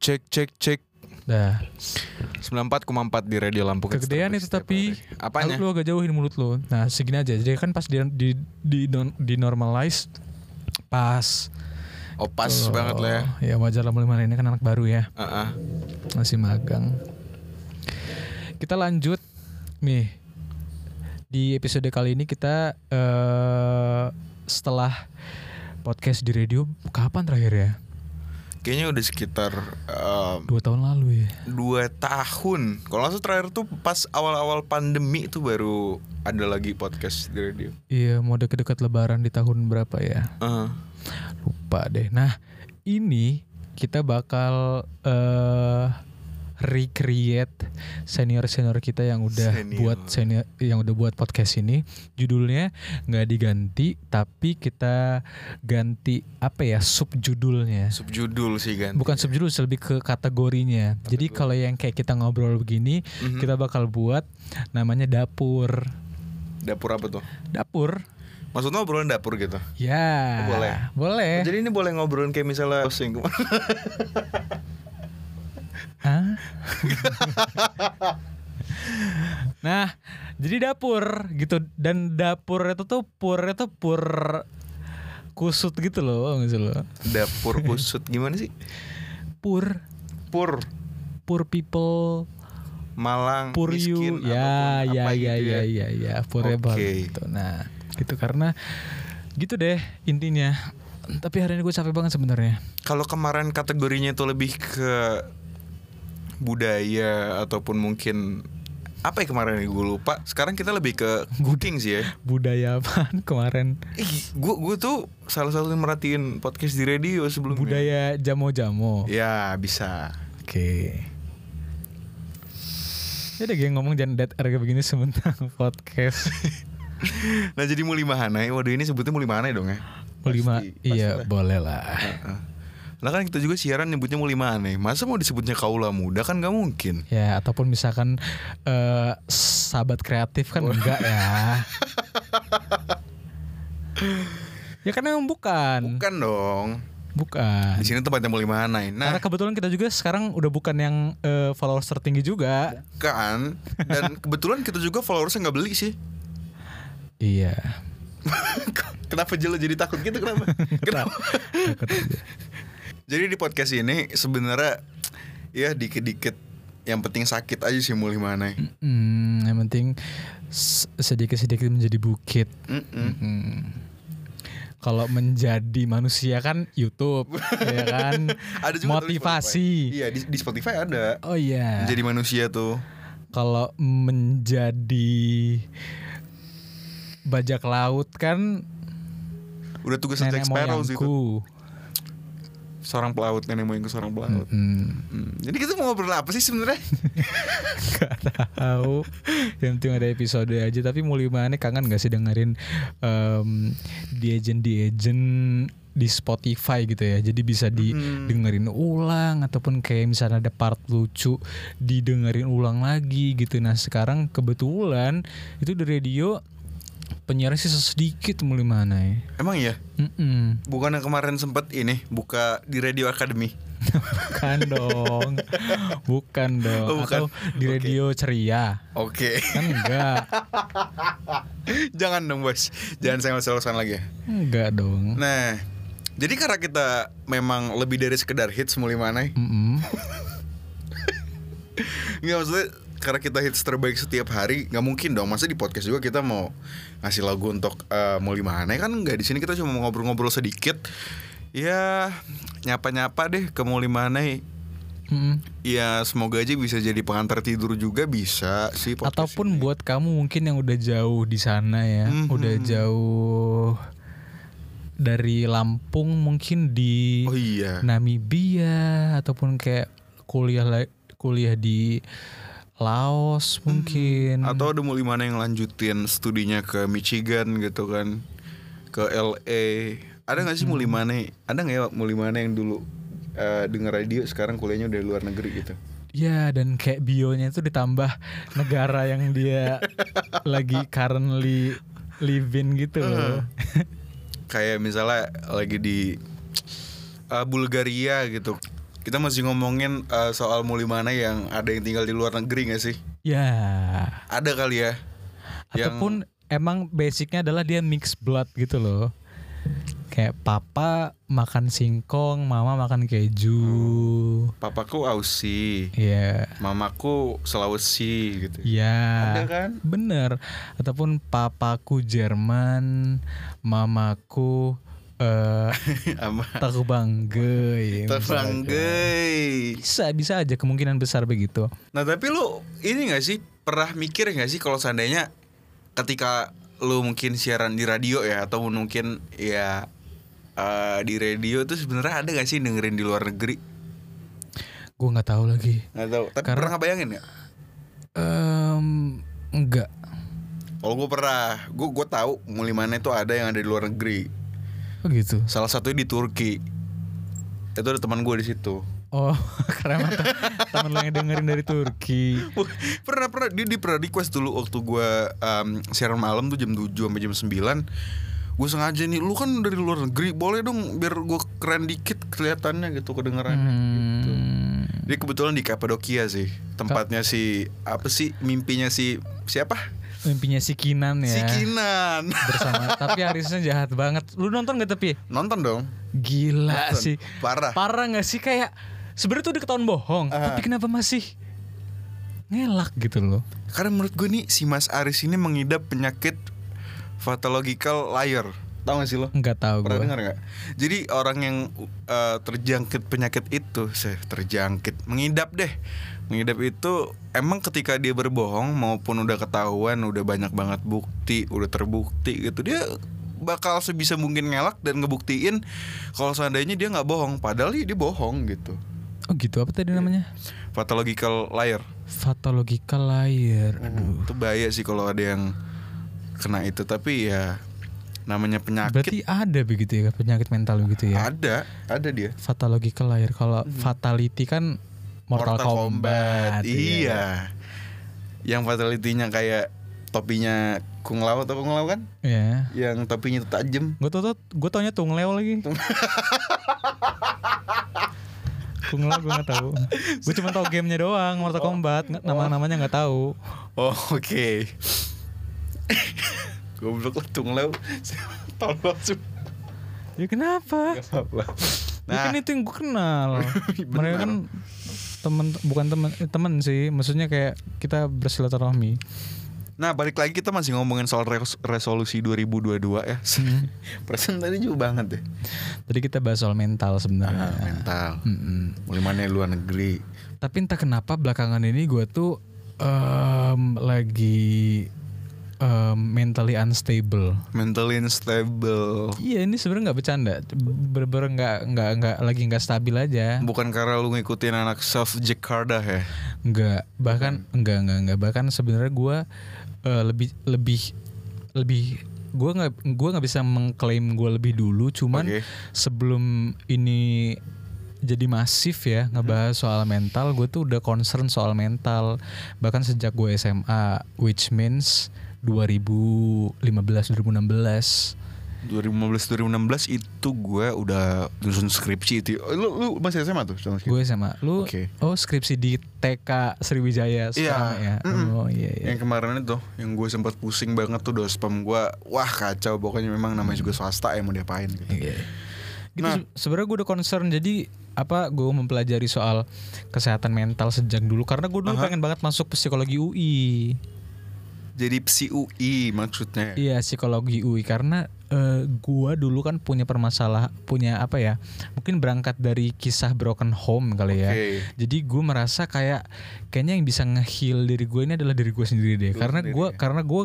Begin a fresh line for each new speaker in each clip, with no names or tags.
cek cek cek
Ah, Dah.
94,4 di radio lampu Kecil
Kegedean
Setiap
itu
hari.
tapi
apanya
Lu agak jauhin mulut lu. Nah, segini aja. Jadi kan pas di di di, non- di normalize pas
oh pas
Oh,
banget lah
Ya
ya
wajar lah mulai ini kan anak baru ya,
Heeh.
masih magang. Kita lanjut nih. Di episode kali ini kita eh setelah podcast di radio kapan terakhir ya?
kayaknya udah sekitar um,
Dua tahun lalu ya.
dua tahun kalau langsung terakhir tuh pas awal-awal pandemi itu baru ada lagi podcast di radio
Iya, mau dekat-dekat lebaran di tahun berapa ya?
Heeh.
lupa deh. Nah, ini kita bakal eh recreate senior-senior kita yang udah
Senior.
buat senior yang udah buat podcast ini. Judulnya nggak diganti tapi kita ganti apa ya subjudulnya.
subjudul sih kan
Bukan subjudul, sih, lebih ke kategorinya. Jadi kalau yang kayak kita ngobrol begini,
Mhm.
kita bakal buat namanya dapur.
dapur apa tuh
Dapur.
maksudnya obrolan dapur gitu
Ya.
Oh, boleh.
Boleh.
jadi ini boleh ngobrolin kayak misalnya browsing kemarin
Hah? nah, jadi dapur gitu dan dapur itu tuh pur itu pur kusut gitu loh, paham nggak sih lo?
dapur kusut gimana sih
Pur,
pur
pur people,
malang
pur
Hmm, miskin
you, ya
apapun,
ya
apa
ya,
gitu
ya
ya.
ya ya forever
Oke.
gitu. Nah, gitu karena gitu deh intinya. Tapi hari ini gue capek banget sebenarnya.
Kalau kemarin kategorinya itu lebih ke budaya ataupun mungkin apa ya kemarin gue lupa. Sekarang kita lebih ke cooking sih ya.
Budaya apaan kemarin?
Ih, gue gue tuh salah satu yang merhatiin podcast di radio sebelumnya.
Budaya jamo-jamo.
Ya bisa.
Oke. Ya udah gue ngomong jangan dead air kayak begini sebentar podcast.
Nah jadi muli mahanai. Waduh ini sebutnya muli mahanai dong ya.
Lima,
Pasti, pasti
iya
lah.
boleh lah.
Heeh. Nah kan kita juga siaran nyebutnya muli mahanai. Masa mau disebutnya kaula muda kan nggak mungkin.
Ya ataupun misalkan eh, sahabat kreatif kan enggak ya. ya kan memang bukan,
Bukan dong.
bukan.
Di sini tempatnya muli mahanai. Nah
Karena kebetulan kita juga sekarang udah bukan yang eh, followers tertinggi juga.
kan dan kebetulan kita juga followersnya nggak beli sih.
Iya.
Kenapa Jelo jadi takut gitu kenapa? kenapa?
Iya.
jadi di podcast ini sebenarnya ya dikit-dikit yang penting sakit aja sih mulai mana.
Hmm, yang penting s- sedikit-sedikit menjadi bukit.
Mm-mm.
Hmm. Kalau menjadi manusia kan YouTube, ya kan?
Ada juga tuh di Spotify.
motivasi.
Iya di, di Spotify ada.
Oh iya.
Jadi manusia tuh.
Kalau menjadi bajak laut kan
Udah tugas
nenek
Jack Sparrow sih itu.
moyangku.
Seorang pelaut nenek moyangku seorang pelaut.
Hmm,
Hmm. Jadi kita mau ngobrol apa sih sebenarnya?
nggak tahu. Yang penting ada episode aja. Tapi mulai mana kangen gak sih dengerin em, di agent di agent di Spotify gitu ya. Jadi bisa di
Hmm.
dengerin ulang ataupun kayak misalnya ada part lucu didengerin ulang lagi gitu nah sekarang kebetulan itu di radio penyiar sih sedikit mulai mana ya
Emang ya?
Mm-mm.
Bukannya kemarin sempet ini buka di Radio Academy.
bukan dong bukan dong
Oh,
atau
bukan.
di
Oke.
radio ceria
Oke.
kan enggak
Jangan dong, Bos. Jangan saya selosan lagi ya.
enggak dong
Nah, jadi karena kita memang lebih dari sekedar hits mulai mana?
Mm-mm.
Nggak maksudnya karena kita hits terbaik setiap hari nggak mungkin dong masa di podcast juga kita mau ngasih lagu untuk eh, mulai mana kan nggak di sini kita cuma mau ngobrol-ngobrol sedikit ya nyapa-nyapa deh ke mulai mana
Mm-mm.
ya semoga aja bisa jadi pengantar tidur juga bisa sih podcast
ataupun
ini.
buat kamu mungkin yang udah jauh di sana ya
Mhm.
udah jauh dari Lampung mungkin di
oh iya
Namibia ataupun kayak kuliah la- kuliah di
Mm-hmm.
Laos mungkin
atau ada mulai mana yang lanjutin studinya ke Michigan gitu kan ke LA ada nggak sih mulai mana ada nggak ya mulai mana yang dulu eh, denger radio sekarang kuliahnya udah di luar negeri gitu
ya dan kayak bionya itu ditambah negara yang dia lagi currently living gitu loh.
kayak misalnya lagi di eh, Bulgaria gitu Kita masih ngomongin eh, soal muli mana yang ada yang tinggal di luar negeri gak sih?
Ya.
Ada kali ya. Yang-
Ataupun emang basicnya adalah dia mix blood gitu loh. Kayak papa makan singkong, mama makan
Oh.
keju.
Papaku Aussie,
Ya.
mamaku Sulawesi gitu.
Ya.
Ada kan?
Bener. Ataupun papaku Jerman, mamaku eh
Sama
terbangge.
terbang, guys.
Bisa bisa aja kemungkinan besar begitu.
Nah tapi lu ini gak sih pernah mikir gak sih kalau seandainya ketika lu mungkin siaran di radio ya atau mungkin ya eh, di radio tuh sebenarnya ada gak sih dengerin di luar negeri?
Gue nggak tahu lagi.
Gak tahu. Tapi
Karena-
pernah ngebayangin gak?
Em, enggak.
Kalau gue pernah, gue gue tahu mulai mana itu ada yang ada di luar negeri.
Oh gitu.
Salah satunya di Turki. Itu ada teman gue di situ.
Oh, karena emang tem- temen lo yang dengerin dari Turki.
Wah, pernah pernah dia, dia pernah request dulu waktu gua um, siaran malam tuh jam 7 sampai jam 9 gue sengaja nih lu kan dari luar negeri boleh dong biar gue keren dikit kelihatannya gitu kedengeran Gitu.
Hmm,
dia kebetulan di Kapadokia sih tempatnya si apa sih mimpinya si siapa
mimpinya si Kinan ya.
si Kinan
Bersama. Tapi Arisnya jahat banget. Lu nonton gak tapi?
nonton dong
Gila
Nonton.
sih.
parah
Parah gak sih kayak sebenarnya tuh udah ketahuan bohong,
Ah.
tapi kenapa masih ngelak gitu loh.
karena menurut gue nih si Mas Aris ini mengidap penyakit pathological liar tau gak sih lo
Enggak tahu
Pernah
gue.
dengar nggak? Jadi orang yang uh, terjangkit penyakit itu, saya terjangkit, mengidap deh. Mengidap itu emang ketika dia berbohong maupun udah ketahuan, udah banyak banget bukti, udah terbukti gitu dia bakal sebisa mungkin ngelak dan ngebuktiin kalau seandainya dia nggak bohong, padahal dia, dia bohong gitu.
Oh gitu apa tadi namanya?
Pathological liar.
Pathological liar. Aduh.
Itu bahaya sih kalau ada yang kena itu, tapi ya namanya penyakit
Berarti ada begitu ya penyakit mental begitu ya.
ada, Mhm. ada dia.
Pathological liar. Kalau fatality kan Mortal, Kombat.
Iya. Yang fatality-nya kayak topinya Kung Lao atau Kung Lao kan?
Ya.
Yang topinya tuh tajam.
Gue tau gue taunya Tung Leo lagi. Tung Leo gue gak tau. Gue cuma tau gamenya doang, Mortal Kombat. Nggak- Nama-namanya nggak tahu.
Oh, oke. Goblok lah Kung Lao. Tolong sih.
Ya kenapa?
Nah,
Mungkin itu yang gue kenal. Mereka kan temen, bukan temen, eh, temen sih. Maksudnya kayak kita bersilaturahmi.
nah balik lagi kita masih ngomongin soal res- resolusi 2022 ya. Persen tadi juga banget deh.
Tadi kita bahas soal mental
Ah,
sebenarnya.
mental.
Mm-mm.
Mulai mana luar negeri.
Tapi entah kenapa belakangan ini gue tuh em, lagi em, mentally unstable.
Mental unstable.
Iya ini sebenarnya nggak bercanda, bener-bener nggak nggak nggak lagi nggak stabil aja,
Bukan karena lu ngikutin anak South Jakarta ya.
nggak bahkan nggak nggak nggak bahkan sebenarnya gue eh, lebih lebih lebih gue nggak gue nggak bisa mengklaim gue lebih dulu, cuman
Oke.
sebelum ini jadi masif ya ngebahas soal mental, gue tuh udah concern soal mental bahkan sejak gue SMA, which means 2015 2016
2015 2016 itu gue udah susun skripsi itu. Oh, Lu lu masih SMA tuh sama skripsi?
Gue sama lu.
Gitu. Oke.
Oh, skripsi di TK Sriwijaya sekarang
Iya.
ya.
Mm-mm.
Oh iya iya.
Yang kemarin itu yang gue sempat pusing banget tuh dospem gue. Wah, kacau pokoknya memang namanya juga swasta ya mau diapain gitu.
Iya. Gitu
Nah.
se- sebenarnya gue udah concern jadi apa gue mempelajari soal kesehatan mental sejak dulu karena gue dulu pengen banget masuk psikologi UI.
Jadi psi UI maksudnya.
Iya, psikologi UI karena eh, gua dulu kan punya permasalah punya apa ya? Mungkin berangkat dari kisah broken home kali ya.
Oke.
Jadi gue merasa kayak kayaknya yang bisa nge-heal diri gue ini adalah diri gue sendiri deh.
Lu
karena
sendiri ya. Mhm.
gue karena gue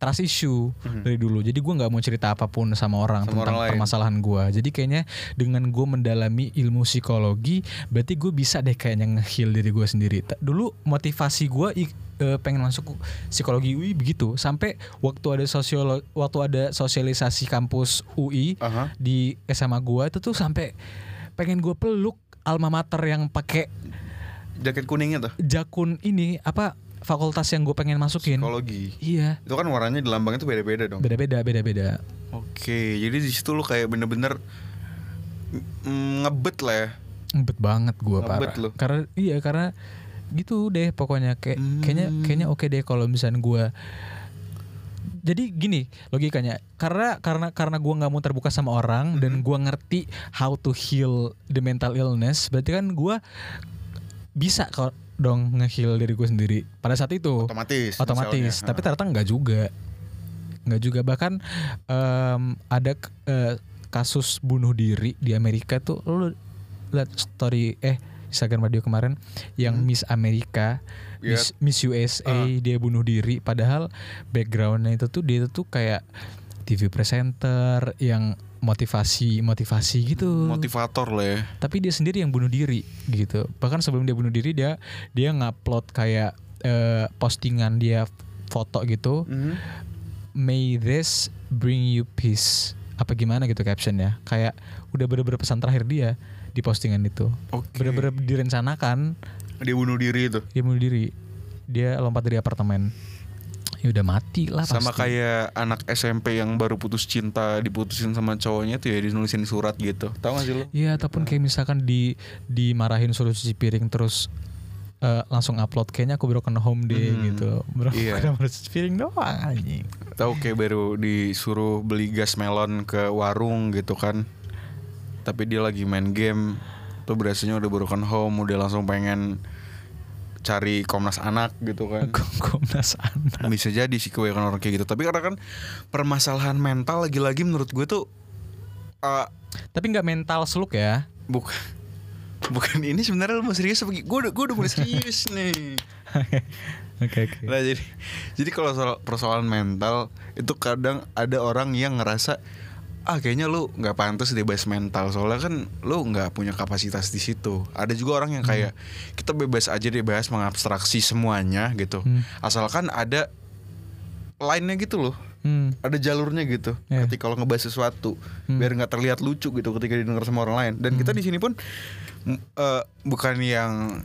trust issue dari dulu. Jadi gue nggak mau cerita apapun sama orang
Sama
tentang
orang lain.
permasalahan gue. Jadi kayaknya dengan gue mendalami ilmu psikologi, berarti gue bisa deh kayaknya nge-heal diri gue sendiri. Ta- Dulu motivasi gue i- eh, pengen masuk psikologi UI begitu sampai waktu ada sosiolo waktu ada sosialisasi kampus UI
Aha.
di SMA gua itu tuh sampai pengen gue peluk alma mater yang pakai
Jaket kuningnya tuh.
jakun ini apa fakultas yang gue pengen masukin
Psikologi.
iya
Itu kan warnanya di lambangnya tuh beda-beda dong.
beda beda beda beda
Oke, jadi di situ lu kayak bener-bener mm, ngebet lah ya.
Ngebet banget gua
Ngebet
parah.
lu.
Karena iya karena gitu deh pokoknya kayak kayaknya
Hmm.
kayaknya oke deh kalau misalnya gua jadi gini logikanya karena karena karena gua nggak mau terbuka sama
Hmm.
orang dan gua ngerti how to heal the mental illness berarti kan gua bisa kalau dong nge-heal diri gue sendiri pada saat itu
otomatis
otomatis
masalahnya.
tapi ternyata nggak juga nggak juga bahkan em, ada k- eh, kasus bunuh diri di Amerika tuh lu lihat story eh Instagram radio kemarin yang Miss Amerika
Iya.
Miss, Miss USA dia bunuh diri padahal backgroundnya itu tuh dia tuh kayak TV presenter yang motivasi motivasi gitu
motivator lah ya
tapi dia sendiri yang bunuh diri gitu bahkan sebelum dia bunuh diri dia dia ngupload kayak eh, postingan dia foto gitu may this bring you peace apa gimana gitu captionnya kayak udah bener-bener pesan terakhir dia di postingan itu
Oke.
bener-bener direncanakan
dia bunuh diri itu
dia bunuh diri dia lompat dari apartemen ya udah mati lah
sama
pasti.
kayak anak SMP yang baru putus cinta diputusin sama cowoknya tuh ya dinulisin surat gitu kan. tahu gak sih lo
Iya ataupun kayak misalkan di dimarahin suruh cuci piring terus eh, langsung upload kayaknya aku baru kena home deh gitu. Bro,
iya. Hmm.
aku baru cuci piring doang anjing.
tahu kayak baru disuruh beli gas melon ke warung gitu kan tapi dia lagi main game tuh berasanya udah broken home udah langsung pengen cari komnas anak gitu kan
Kom- Komnas anak.
bisa jadi sih kebanyakan orang kayak gitu tapi karena kan permasalahan mental lagi-lagi menurut gue tuh eh,
Tapi nggak mental seluk ya.
bukan bukan ini sebenarnya lu mau serius apa gue udah gue udah mulai serius nih
Oke oke.
Nah jadi jadi kalau soal persoalan mental itu kadang ada orang yang ngerasa ah kayaknya lu nggak pantas deh bahas mental soalnya kan lu nggak punya kapasitas di situ. Ada juga orang yang kayak kita bebas aja deh bahas mengabstraksi semuanya gitu.
Hmm.
Asalkan ada line-nya gitu loh.
Hmm.
Ada jalurnya gitu.
Iya. Hmm.
Ketika kalau ngebahas sesuatu biar nggak terlihat lucu gitu ketika didengar sama orang lain. Dan kita di sini pun m- eh, bukan yang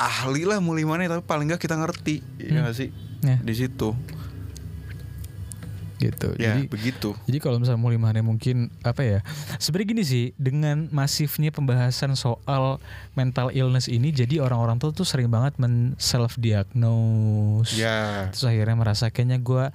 ahli lah mulimane tapi paling nggak kita ngerti ya nggak sih
Ya.
di situ.
Gitu.
Ya
Jadi
begitu.
jadi kalau misalnya mau lima hari mungkin apa ya? Sebenarnya gini sih, dengan masifnya pembahasan soal mental illness ini, jadi orang-orang tuh tuh sering banget men self diagnose.
Ya.
terus akhirnya merasa kayaknya gue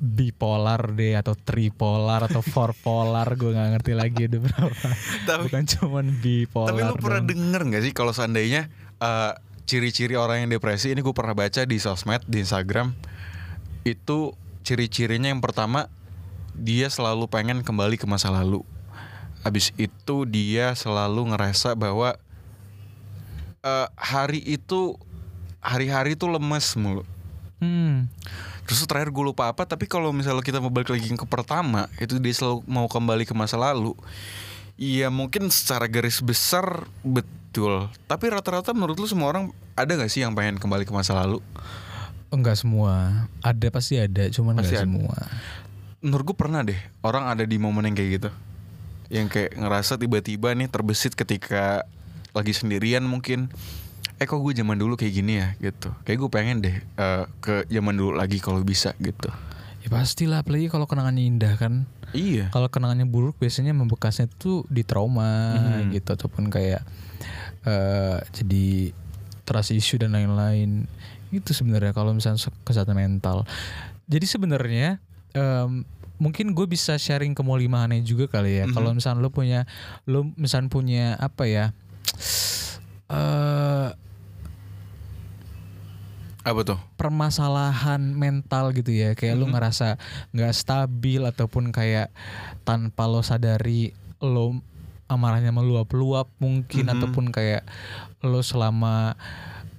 bipolar deh atau tripolar atau fourpolar gue nggak ngerti lagi ada berapa
Tapi-
bukan cuman bipolar
Tapi lu pernah
dong.
denger nggak sih kalau seandainya eh, ciri-ciri orang yang depresi ini gue pernah baca di sosmed di Instagram itu ciri-cirinya yang pertama dia selalu pengen kembali ke masa lalu. Abis itu dia selalu ngerasa bahwa eh, hari itu hari-hari itu lemes mulu.
hmm,
Terus terakhir gue lupa apa Tapi kalau misalnya kita mau balik lagi ke pertama Itu dia selalu mau kembali ke masa lalu Iya mungkin secara garis besar betul Tapi rata-rata menurut lu semua orang Ada gak sih yang pengen kembali ke masa lalu?
enggak semua ada pasti ada cuman
Pasti
enggak
ada.
semua
Menurut gue pernah deh Orang ada di momen yang kayak gitu Yang kayak ngerasa tiba-tiba nih terbesit ketika Lagi sendirian mungkin Eh kok gue zaman dulu kayak gini ya gitu Kayak gue pengen deh eh, Ke zaman dulu lagi kalau bisa gitu
ya pastilah apalagi kalau kenangannya indah kan
Iya
kalau kenangannya buruk biasanya membekasnya tuh di trauma gitu ataupun kayak eh jadi trust issue dan lain-lain itu sebenarnya kalau misalnya se- kesehatan mental jadi sebenarnya em, mungkin gue bisa sharing ke Moli Mahane juga kali ya kalau misalnya lo punya lo misalnya punya apa ya eh
Apa tuh?
permasalahan mental gitu ya kayak lu ngerasa nggak stabil ataupun kayak tanpa lo sadari lo amarahnya meluap-luap mungkin ataupun kayak lo selama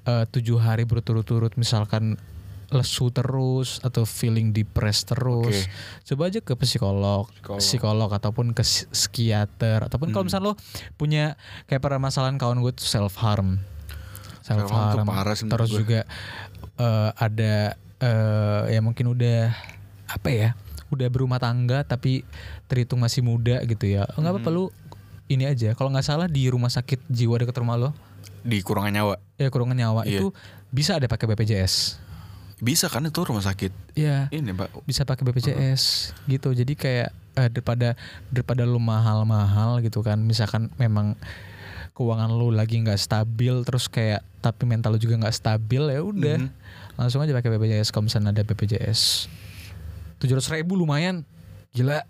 eh, tujuh hari berturut-turut misalkan lesu terus atau feeling depressed terus
Oke.
coba aja ke psikolog
Psikolog.
psikolog, ataupun ke ps- psikiater ataupun kalau misalnya lo punya kayak permasalahan kawan gue tuh self harm self
Self-harm tuh
harm
parah sih menurut
terus
gue.
juga eh, ada eh, ya mungkin udah apa ya udah berumah tangga tapi terhitung masih muda gitu ya nggak
Hmm.
apa-apa lu ini aja kalau nggak salah di rumah sakit jiwa dekat rumah lo
Di kurangan nyawa
ya kurungan nyawa
Iya.
itu bisa ada pakai BPJS
Bisa kan itu rumah sakit
ya
Ini pak
bisa pakai BPJS gitu jadi kayak eh, daripada daripada lu mahal-mahal gitu kan misalkan memang keuangan lu lagi nggak stabil terus kayak tapi mental lu juga nggak stabil ya udah
Mhm.
langsung aja pakai BPJS kalau misalnya ada BPJS tujuh ribu lumayan gila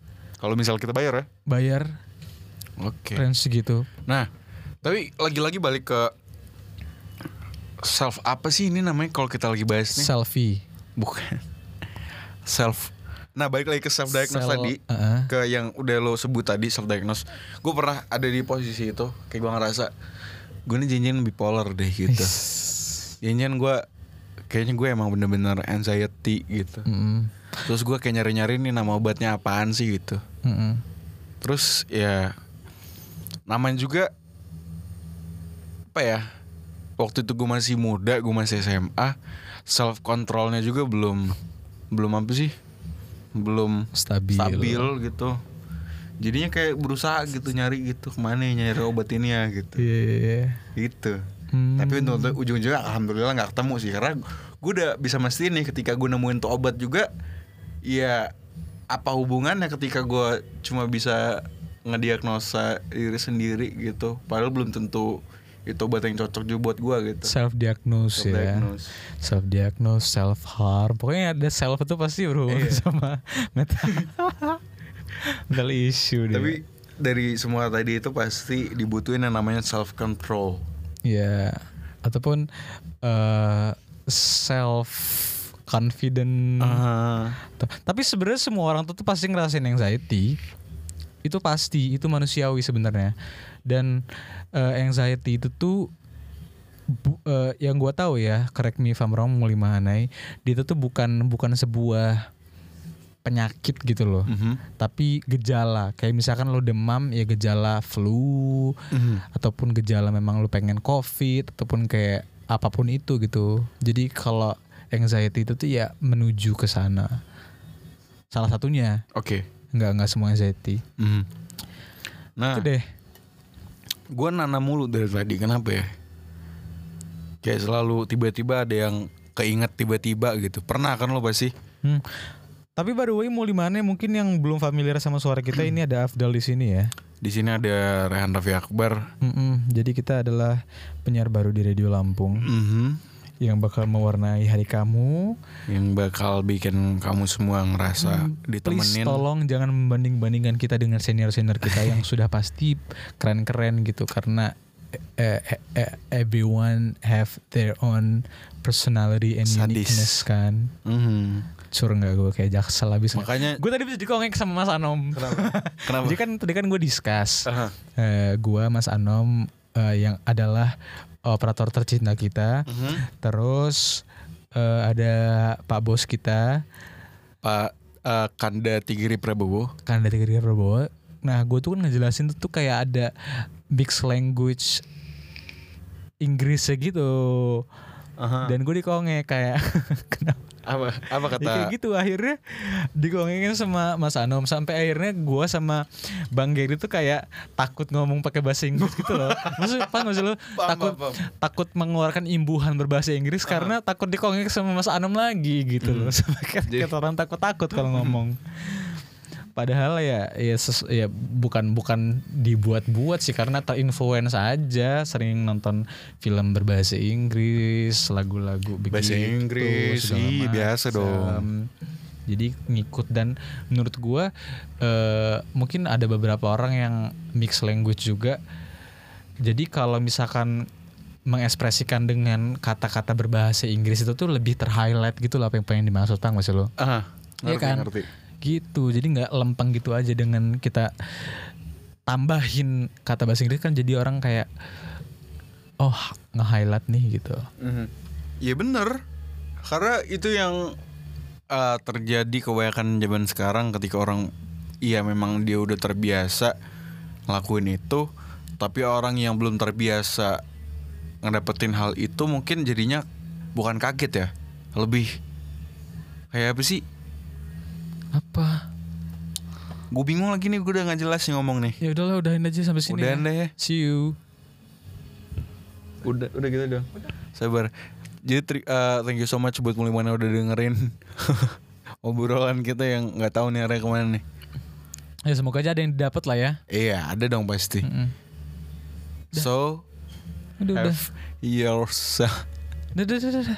Kalau misal kita bayar ya.
bayar gitu.
Oke.
range segitu
Nah, tapi lagi-lagi balik ke self apa sih ini namanya kalau kita lagi bahas nih?
selfie
Bukan. Self. Nah, balik lagi ke self diagnose
Sel-
tadi.
Heeh.
Ke yang udah lo sebut tadi self diagnose. Gue pernah ada di posisi itu, kayak gue ngerasa gue ini janjian bipolar deh gitu. Janjian gue kayaknya gue emang bener-bener anxiety gitu.
Mm-mm.
Terus gue kayak nyari-nyari nih nama obatnya apaan sih gitu.
Mm-mm.
Terus ya namanya juga apa ya? Waktu itu gue masih muda, gue masih SMA, self controlnya juga belum belum apa sih? Belum
stabil
stabil gitu. Jadinya kayak berusaha gitu nyari gitu kemana ya nyari obat ini ya gitu.
Iya, iya, iya.
Gitu.
Hmm.
Tapi untuk untuk ujung-ujungnya alhamdulillah nggak ketemu sih karena gue udah bisa mastiin nih ketika gue nemuin tuh obat juga ya apa hubungannya ketika gue cuma bisa ngediagnosa diri sendiri gitu padahal belum tentu itu obat yang cocok juga buat gue gitu.
self diagnose ya
Self-diagnose.
self diagnose self harm pokoknya ada self itu pasti berhubungan sama mental mental issue deh
Tapi dari semua tadi itu pasti dibutuhin yang namanya self control.
ya ataupun eh, self confident
Ah.
T- tapi sebenarnya semua orang tuh, tuh pasti ngerasain anxiety itu pasti itu manusiawi sebenarnya dan eh, anxiety itu tuh bu- eh, yang gua tahu ya correct me if I'm wrong Muli Mahanai itu tuh bukan bukan sebuah penyakit gitu loh
Mhm.
tapi gejala kayak misalkan lo demam ya gejala flu ataupun gejala memang lo pengen covid ataupun kayak apapun itu gitu jadi kalau anxiety itu tuh ya menuju ke sana salah satunya
Oke.
nggak nggak semua anxiety
Mhm. Nah,
itu deh
gue nana mulu dari tadi kenapa ya kayak selalu tiba-tiba ada yang keinget tiba-tiba gitu pernah kan lo pasti
Hmm. tapi by the way mau dimana ya? mungkin yang belum familiar sama suara kita ini ada Afdal di sini ya
di sini ada Rehan Raffi Akbar
Mm-mm. jadi kita adalah penyiar baru di Radio Lampung
Mhm.
yang bakal mewarnai hari kamu
yang bakal bikin kamu semua ngerasa
Mm-hmm. Please
ditemenin
tolong jangan membanding-bandingkan kita dengan senior-senior kita yang sudah pasti keren-keren gitu karena eh, eh, eh, everyone have their own personality and
Sadis.
uniqueness kan.
Mhm.
Sur nggak gue kayak jaksel abis.
makanya
Gue tadi bisa dikongek sama Mas Anom.
kenapa Ah. Uh-huh.
Jadi kan tadi kan gue discuss.
Aha.
Eh, gue Mas Anom eh, yang adalah operator tercinta kita.
Mhm.
Terus eh, ada Pak Bos kita.
Pak eh, Kanda Tigiri Prabowo
karena kan dari Gerga Prabowo. Nah, gue tuh kan ngejelasin tuh, tuh kayak ada mixed language Inggrisnya gitu. Dan gue dikongek kayak kenapa?
apa apa
Ya,
kata
kayak gitu akhirnya dikongekin sama Mas Anom sampai akhirnya gue sama Bang Gary tuh kayak takut ngomong pakai bahasa Inggris gitu loh. Maksud paham gak sih lo?
Paham,
Takut
paham,
takut mengeluarkan imbuhan berbahasa Inggris karena takut dikongek sama Mas Anom lagi gitu loh. Sampai kayak-
Hmm. Jadi-
kayak orang takut-takut kalau ngomong. Padahal ya ya, ses- ya bukan bukan dibuat-buat sih karena terinfluence aja sering nonton film berbahasa Inggris, lagu-lagu gitu,
Bahasa Inggris,
segala
ih, biasa
macam.
dong.
Jadi ngikut dan menurut gua eh, mungkin ada beberapa orang yang mix language juga. Jadi kalau misalkan mengekspresikan dengan kata-kata berbahasa Inggris itu tuh lebih terhighlight gitu lah apa yang pengen dimaksud Bang maksud lo. Iya
Aha, Uh-huh. ngerti,
kan?
ngerti.
Gitu. Jadi nggak lempeng gitu aja dengan kita tambahin kata bahasa Inggris kan jadi orang kayak oh nge-highlight nih gitu.
Ya bener Karena itu yang uh, terjadi kebanyakan zaman sekarang ketika orang Iya memang dia udah terbiasa ngelakuin itu Tapi orang yang belum terbiasa ngedapetin hal itu mungkin jadinya bukan kaget ya Lebih kayak apa sih?
Apa?
Gue bingung lagi nih gue udah gak jelas nih ngomong nih
Ya udahlah udahin aja sampai sini.
Udahan
ya.
deh ya.
See you.
Udah udah gitu dong. Sabar. Jadi tri- eh, thank you so much buat Mulimana udah dengerin obrolan kita yang nggak tahu nih arahnya kemana nih.
Ya semoga aja ada yang didapat lah ya.
Iya ada dong pasti.
Mm-mm.
So
Udah udah.
have yourself
Udah udah udah. udah.